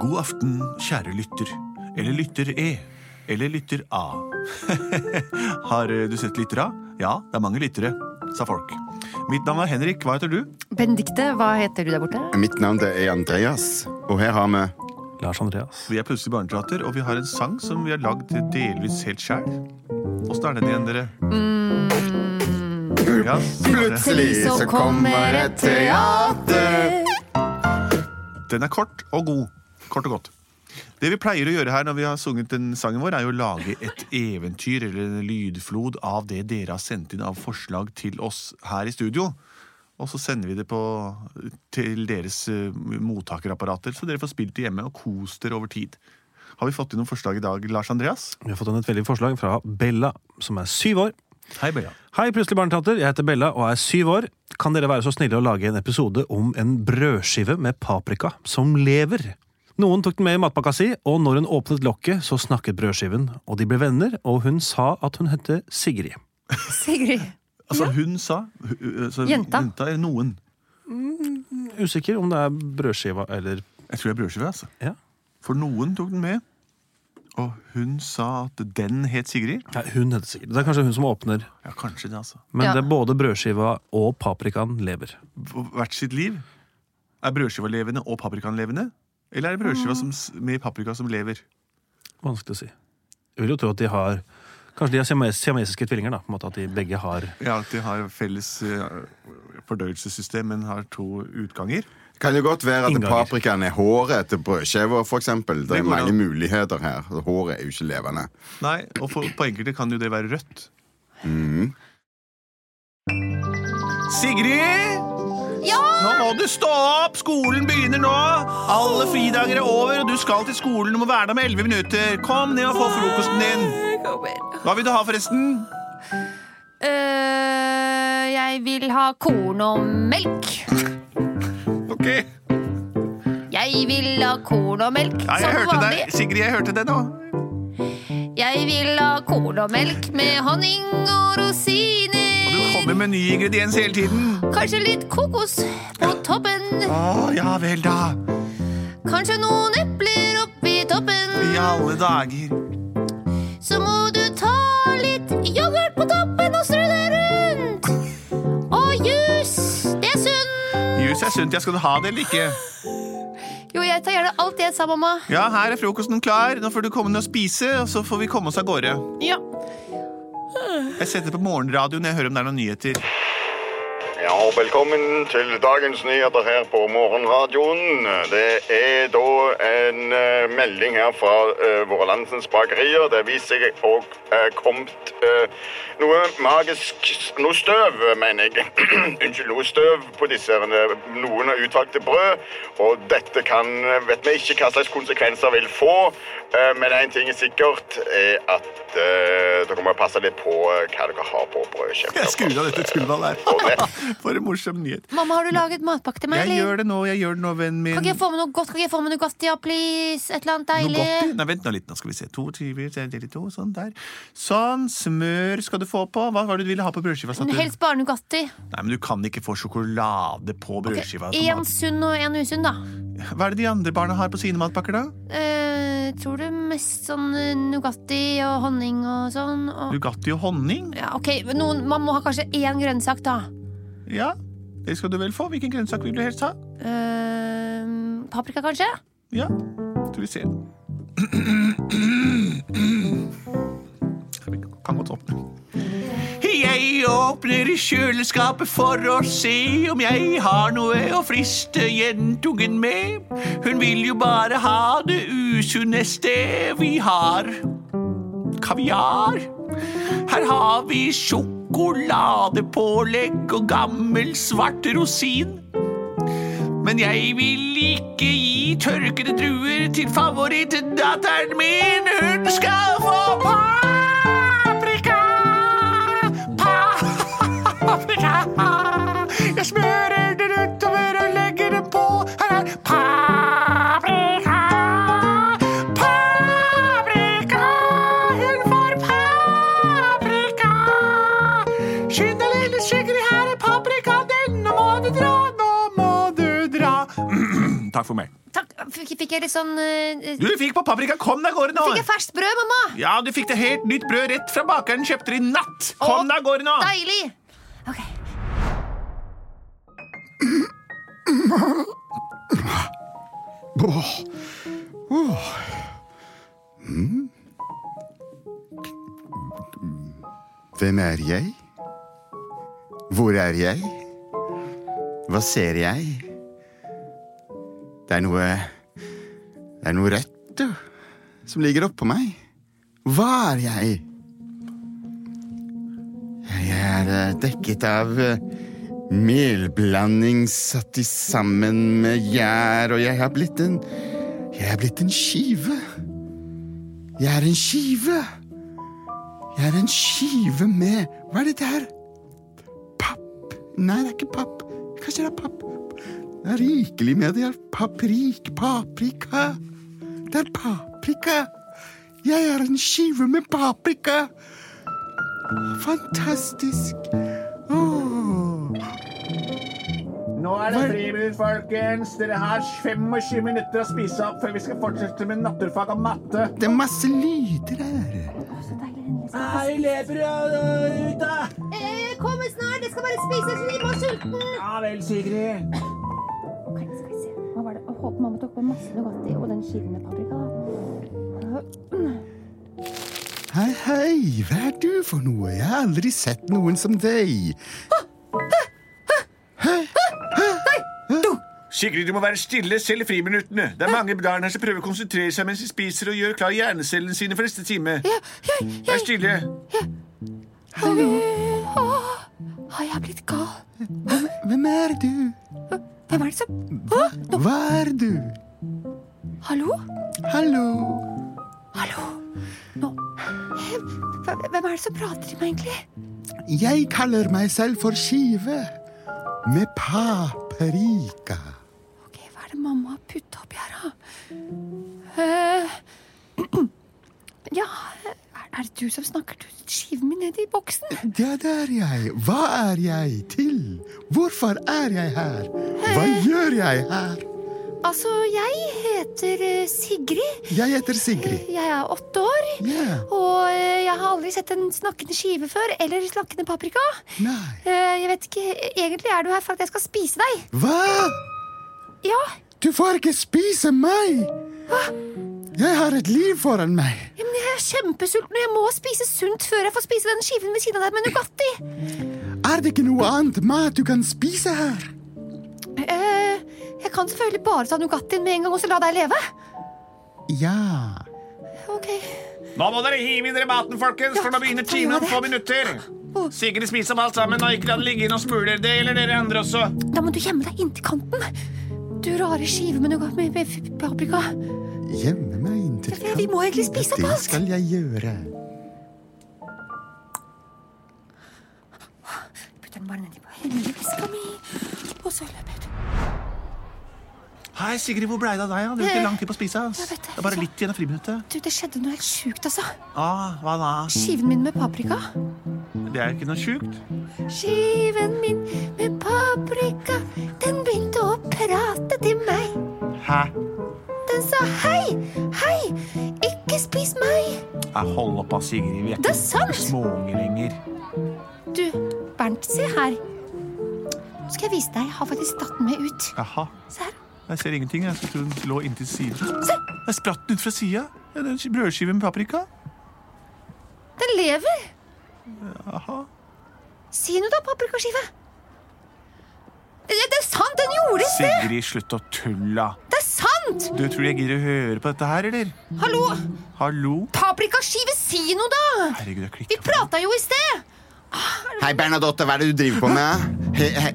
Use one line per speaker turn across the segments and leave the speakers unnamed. God aften, kjære lytter. Eller lytter E. Eller lytter A. Har eh, du sett lyttere? Ja, det er mange lyttere, sa folk. Mitt navn er Henrik. Hva heter du?
Benedikte, hva heter du der borte?
Mitt navn det er Andreas, og her har vi
Lars Andreas.
Vi er plutselig barneteater, og vi har en sang som vi har lagd delvis helt sjæl. Åssen er den igjen, dere? Ja, si det.
Plutselig så kommer et teater.
Den er kort og god. Kort og godt. Det vi pleier å gjøre her når vi har sunget den sangen vår, er jo å lage et eventyr eller en lydflod av det dere har sendt inn av forslag til oss her i studio. Og så sender vi det på, til deres eh, mottakerapparater, så dere får spilt det hjemme og kost dere over tid. Har vi fått inn noen forslag i dag, Lars Andreas?
Vi har fått inn et veldig forslag fra Bella, som er syv år.
Hei, Bea.
Hei, plutselig barneteater. Jeg heter Bella og er syv år. Kan dere være så snille å lage en episode om en brødskive med paprika som lever? Noen tok den med i matpakka si, og når hun åpnet lokket, så snakket brødskiven, og de ble venner, og hun sa at hun hette Sigrid.
Sigrid.
Altså, hun sa hu- hu- altså,
Jenta.
jenta eller noen.
Usikker om det er brødskiva eller
Jeg tror det er brødskive, altså.
Ja.
For noen tok den med, og hun sa at den het Sigrid.
Nei, hun heter Sigrid. Det er kanskje hun som åpner.
Ja, kanskje det, altså.
Men
Ja.
det er både brødskiva og paprikaen lever.
På hvert sitt liv. Er brødskiva levende og paprikaen levende? Eller er det brødskiva som, s- med paprika som lever?
Vanskelig å si. Jeg vil jo tro at de har Kanskje de er siames- siamesiske tvillinger, da. På en måte at de begge har
Ja, at de har felles eh, fordøyelsessystem, men har to utganger.
Kan det godt være at
Innganger.
paprikaen er håret til brødskiva, for eksempel. Det
Det
er
går
mange
an.
muligheter her. Håret er jo ikke levende.
Nei, og for, på enkelte kan jo det være rødt. Sigrid! Nå må du stå opp! Skolen begynner nå! Alle fridager er over, og du skal til skolen. Du må være der med 11 minutter. Kom ned og få frokosten din. Hva vil du ha, forresten?
Øh, jeg vil ha korn og melk.
Ok. Nei,
Jeg vil ha korn og melk
jeg
som
hørte
vanlig.
deg. Sigrid, jeg hørte deg nå.
Jeg vil ha korn og melk med honning og rosiner.
Du kommer med ny ingrediens hele tiden.
Kanskje litt kokos på toppen.
Å, ja vel, da.
Kanskje noen epler oppi toppen.
I alle dager.
Så må du ta litt yoghurt på toppen og strø det rundt. Og juice. Det er sunt.
Jus er sunt. Jeg skal du ha det eller ikke?
Jo, jeg tar gjerne alt det jeg sa, mamma.
Ja, her er frokosten klar. Nå får du komme ned og spise, og så får vi komme oss av gårde.
Ja.
Jeg setter på morgenradioen jeg hører om det er noen nyheter.
Ja, og velkommen til dagens nyheter her på Morgenradioen. Det er da en eh, melding her fra eh, våre landsens bakerier. Det viser seg å uh, kommet eh, noe magisk s- Noe støv, mener jeg. Unnskyld, noe støv på disse her, eh, noen av utvalgte brød. Og dette kan eh, Vet vi ikke hva slags konsekvenser vil få, eh, men én ting er sikkert, er at eh, dere må passe litt på eh, hva dere har på brødkjeften.
Jeg skrur av dette tullballet her. For en morsom nyhet.
Mamma, har du laget matpakke til meg?
Jeg
eller?
gjør det nå, jeg gjør det nå, vennen min.
Kan ikke jeg få med noe godt? Kan ikke jeg få med Nugatti, ja, please? Et eller annet deilig?
Nougat i? Nei, vent nå litt, nå skal vi se. To tyver, det er delt i to, sånn der. Sånn, smør skal du få på. Hva var det du ville ha på brødskiva? sa du?
Helst bare Nugatti.
Nei, men du kan ikke få sjokolade på brødskiva. som
Én sunn og én usunn, da.
mat. Hva er det de andre barna har på sine matpakker, da?
Eh, tror du mest sånn eh, Nugatti og honning og sånn? Og...
Nugatti og honning?
Ja, ok, men noen, Man må ha kanskje én grønnsak, da.
Ja, det skal du vel få. Hvilken grønnsak vil du helst ha?
Eh, paprika, kanskje?
Ja, skal vi se. Vi Kan godt åpne. Jeg åpner kjøleskapet for å se om jeg har noe å friste jentungen med. Hun vil jo bare ha det usunneste vi har. Kaviar. Her har vi sjokoladepålegg og gammel svart rosin. Men jeg vil ikke gi tørkede druer til favorittdatteren min. Hun skal få paprika! Paprika! Jeg smører den utover og legger den på. Her er paprika! Paprika! Hun får paprika! Skynd deg, lille skikkeri, her er paprika. Den, nå må du dra, nå må du dra. Takk for meg.
Takk. Fikk, fikk jeg litt sånn eh,
Du fikk på paprika. Kom deg av gårde
Fikk jeg
nå.
ferskt brød, mamma?
Ja, du fikk det helt nytt brød rett fra bakeren kjøpte det i natt. Kom deg av gårde nå.
Deilig! Ok.
Hmm? Hvem er jeg? Hvor er jeg? Hva ser jeg? Det er noe Det er noe rødt, du, som ligger oppå meg. Hva er jeg? Jeg er eh, dekket av eh, melblanding satt i sammen med gjær, og jeg har blitt en Jeg er blitt en skive. Jeg er en skive. Jeg er en skive med Hva er dette her? Papp? Nei, det er ikke papp. Kanskje det er papp? Det er rikelig med det. Paprik, paprika. Det er paprika. Jeg er en skive med paprika. Fantastisk. Åh.
Nå er det friminutt, folkens. Dere har 25 minutter å spise opp før vi skal fortsette med naturfag og matte.
Det er masse lyder her.
Hei, lever ut, da.
Eh, Kom snart, jeg skal bare spise så jeg må sulten.
Ja vel, Sigrid.
Ok, skal vi se. Hva var det? Jeg håper mamma tok på masse Nugatti og den skiven med paprika. da.
Hei, hei, hva er du for noe? Jeg har aldri sett noen som deg.
Sigrid, du må være stille selv i friminuttene. Det er mange barn her som prøver å konsentrere seg mens de spiser og gjør klar hjernecellene sine for neste time. Vær stille.
Har jeg blitt gal?
Hvem er du?
Hvem er det som
Hva er du?
Hallo?
Hallo?
Hallo? Nå Hvem hvem er det som prater til meg, egentlig?
Jeg kaller meg selv for Skive. Med paprika.
Ok, Hva er det mamma har putta oppi her, da? Eh, ja, er, er det du som snakker? Du skyver meg ned i boksen.
Ja, det er jeg. Hva er jeg til? Hvorfor er jeg her? Hva gjør jeg her?
Altså, jeg heter eh, Sigrid.
Jeg heter Sigrid.
Jeg er åtte år.
Ja.
Og eh, jeg har aldri sett en snakkende skive før, eller snakkende paprika.
Nei.
Eh, Jeg vet ikke, Egentlig er du her for at jeg skal spise deg.
Hva?
Ja,
Du får ikke spise meg! Jeg har et liv foran meg.
ja, men Jeg er kjempesulten, og jeg må spise sunt før jeg får spise den skiven ved siden av deg med Nugatti.
Er det ikke noe annet mat du kan spise her?
Eh, Jeg kan selvfølgelig bare ta Nugattien med en gang og så la deg leve.
Ja.
Ok,
Nå må dere hive inn dere maten, folkens, for nå begynner timen om få minutter. Sigrid, spis opp alt sammen og ikke la det ligge inn og smuler. Det gjelder dere andre også.
Da må du gjemme deg inntil kanten. Du rare skive med, nougat- med, med paprika.
Gjemme meg inntil
Ja, vi må egentlig spise opp
Det
alt.
skal jeg gjøre.
Putt den bare nedi hele veska mi, og så løper jeg ut.
Hei, Sigrid, hvor blei det av deg? da? Du brukte lang tid på å spise. ass.
Eh, Jeg vet det.
Det er bare litt igjen av friminuttet.
Du, Det skjedde noe helt sjukt, altså.
Ah, hva da?
Skiven min med paprika.
Det er ikke noe sjukt.
Skiven min med paprika, den begynte å prate til meg.
Hæ?
Den sa hei, hei, ikke spis meg.
Ja, hold opp, da, Sigrid. Vi er
Det
ikke
er sant.
småunger lenger.
Du, Bernt, se her. Nå skal jeg vise deg. Jeg har faktisk tatt den med ut.
Jaha.
Se her.
Jeg ser ingenting. Jeg skulle tro den lå inntil siden.
Se,
Jeg spratt den ut fra sida. Ja, det er en Brødskive med paprika.
den lever.
Jaha.
Si noe da, paprikaskive. Det, det er sant, den gjorde det.
Sigrid, slutt å tulle.
Det er sant.
Du tror jeg gidder å høre på dette her, eller?
Hallo,
Hallo?
paprikaskive, si noe da.
Herregud, jeg
Vi
klikka.
prata jo i sted.
Hei, Bernadotte, hva er det du driver på med? He, he.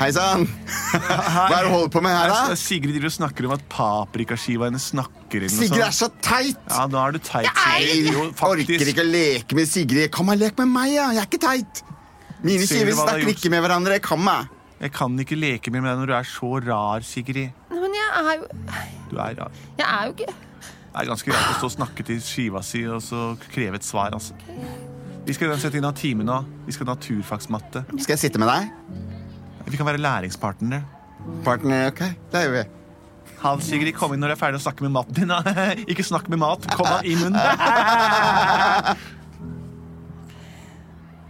Hei sann! Hva er det du holder på med her,
Nei,
da?
Sigrid driver og snakker om at paprikaskiva hennes snakker eller noe
sånn.
Sigrid er
sånt.
så teit!
sånn- Ja, da er du teit,
Jeg
Sigrid. Jo, faktisk.
orker ikke å leke med Sigrid. Kom og lek med meg, ja. Jeg er ikke teit. Mine
Ser
skiver
du hva det har
snakker
gjort?
ikke med hverandre. Kom, da.
Jeg kan ikke leke mer med deg når du er så rar, Sigrid.
Men jeg er jo,
Du er rar.
jeg er jo ikke
Det er ganske rart å stå og snakke til skiva si og så kreve et svar, altså. Vi skal uansett inn av time nå. Vi skal ha naturfagsmatte.
Skal jeg sitte med deg?
Vi kan være læringspartnere.
Partner, ok. Det gjør vi.
Ha det, Sigrid. Kom inn når du er ferdig å snakke med maten din. da. Ikke snakk med mat. Kom da i munnen.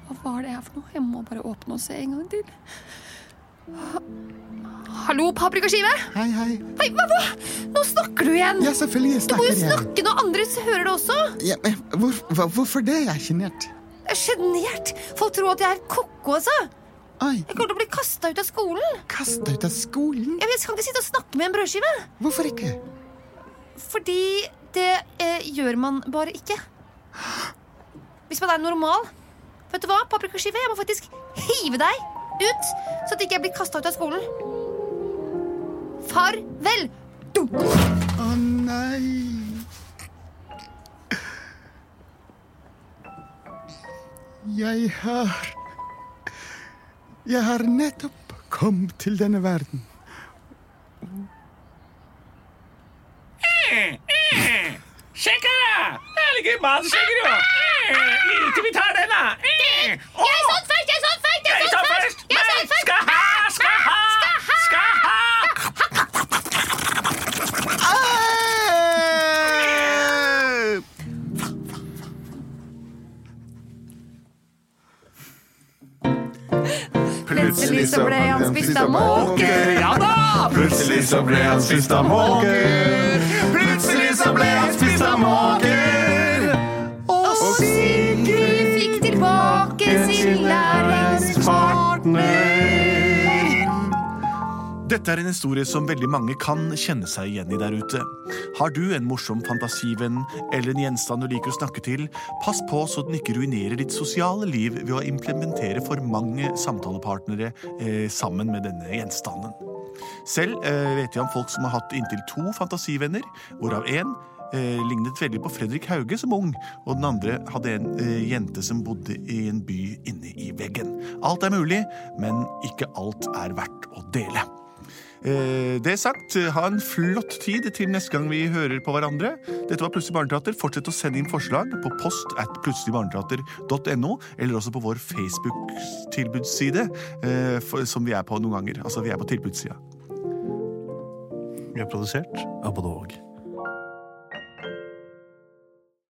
Hva var det her for noe? Jeg må bare åpne og se en gang til. Hallo, paprikaskive!
Hei, hei.
Hei, hva, hva? Nå snakker du igjen!
Ja, selvfølgelig
du må jo
snakker jeg.
snakke når andre hører det også!
Ja, men hvor, hva, hvorfor det? Jeg er sjenert.
Jeg er sjenert! Folk tror at jeg er ko-ko, altså! Jeg
Oi,
kommer til å bli kasta ut av skolen!
kasta ut av skolen.
Jeg kan ikke sitte og snakke med en brødskive!
Hvorfor ikke?
Fordi det eh, gjør man bare ikke. Hvis man er normal. Vet du hva, paprikaskive? Jeg må faktisk hive deg ut, så at ikke jeg blir kasta ut av skolen. Farvel! Dunk!
Å nei. Jeg har Jeg har nettopp kommet til denne verden.
Skjeggere! Herlige matskjeggere! Lite Eh, vi tar den, da.
Jeg satt først! Jeg satt først! Jeg satt først!
Jeg tar først!
Jeg
Nei,
satt først!
Skal ha! Skal ha! Skal ha!
Ah!
Plutselig så ble han spist av måke.
Ja da!
Plutselig så ble han spist av måker. Plutselig så ble han spist av måker.
Og Sigrid fikk tilbake sin læringspartner.
Dette er en historie som veldig mange kan kjenne seg igjen i der ute. Har du en morsom fantasivenn eller en gjenstand du liker å snakke til, pass på så den ikke ruinerer ditt sosiale liv ved å implementere for mange samtalepartnere eh, sammen med denne gjenstanden. Selv eh, vet jeg om folk som har hatt inntil to fantasivenner, hvorav én eh, lignet veldig på Fredrik Hauge som ung, og den andre hadde en eh, jente som bodde i en by inne i veggen. Alt er mulig, men ikke alt er verdt å dele. Eh, Det sagt, ha en flott tid til neste gang vi hører på hverandre. Dette var Plutselig barneteater. Fortsett å sende inn forslag på post at plutseligbarneteater.no, eller også på vår Facebook-tilbudsside, eh, for- som vi er på noen ganger. Altså, vi er på tilbudssida.
Vi er produsert av både og.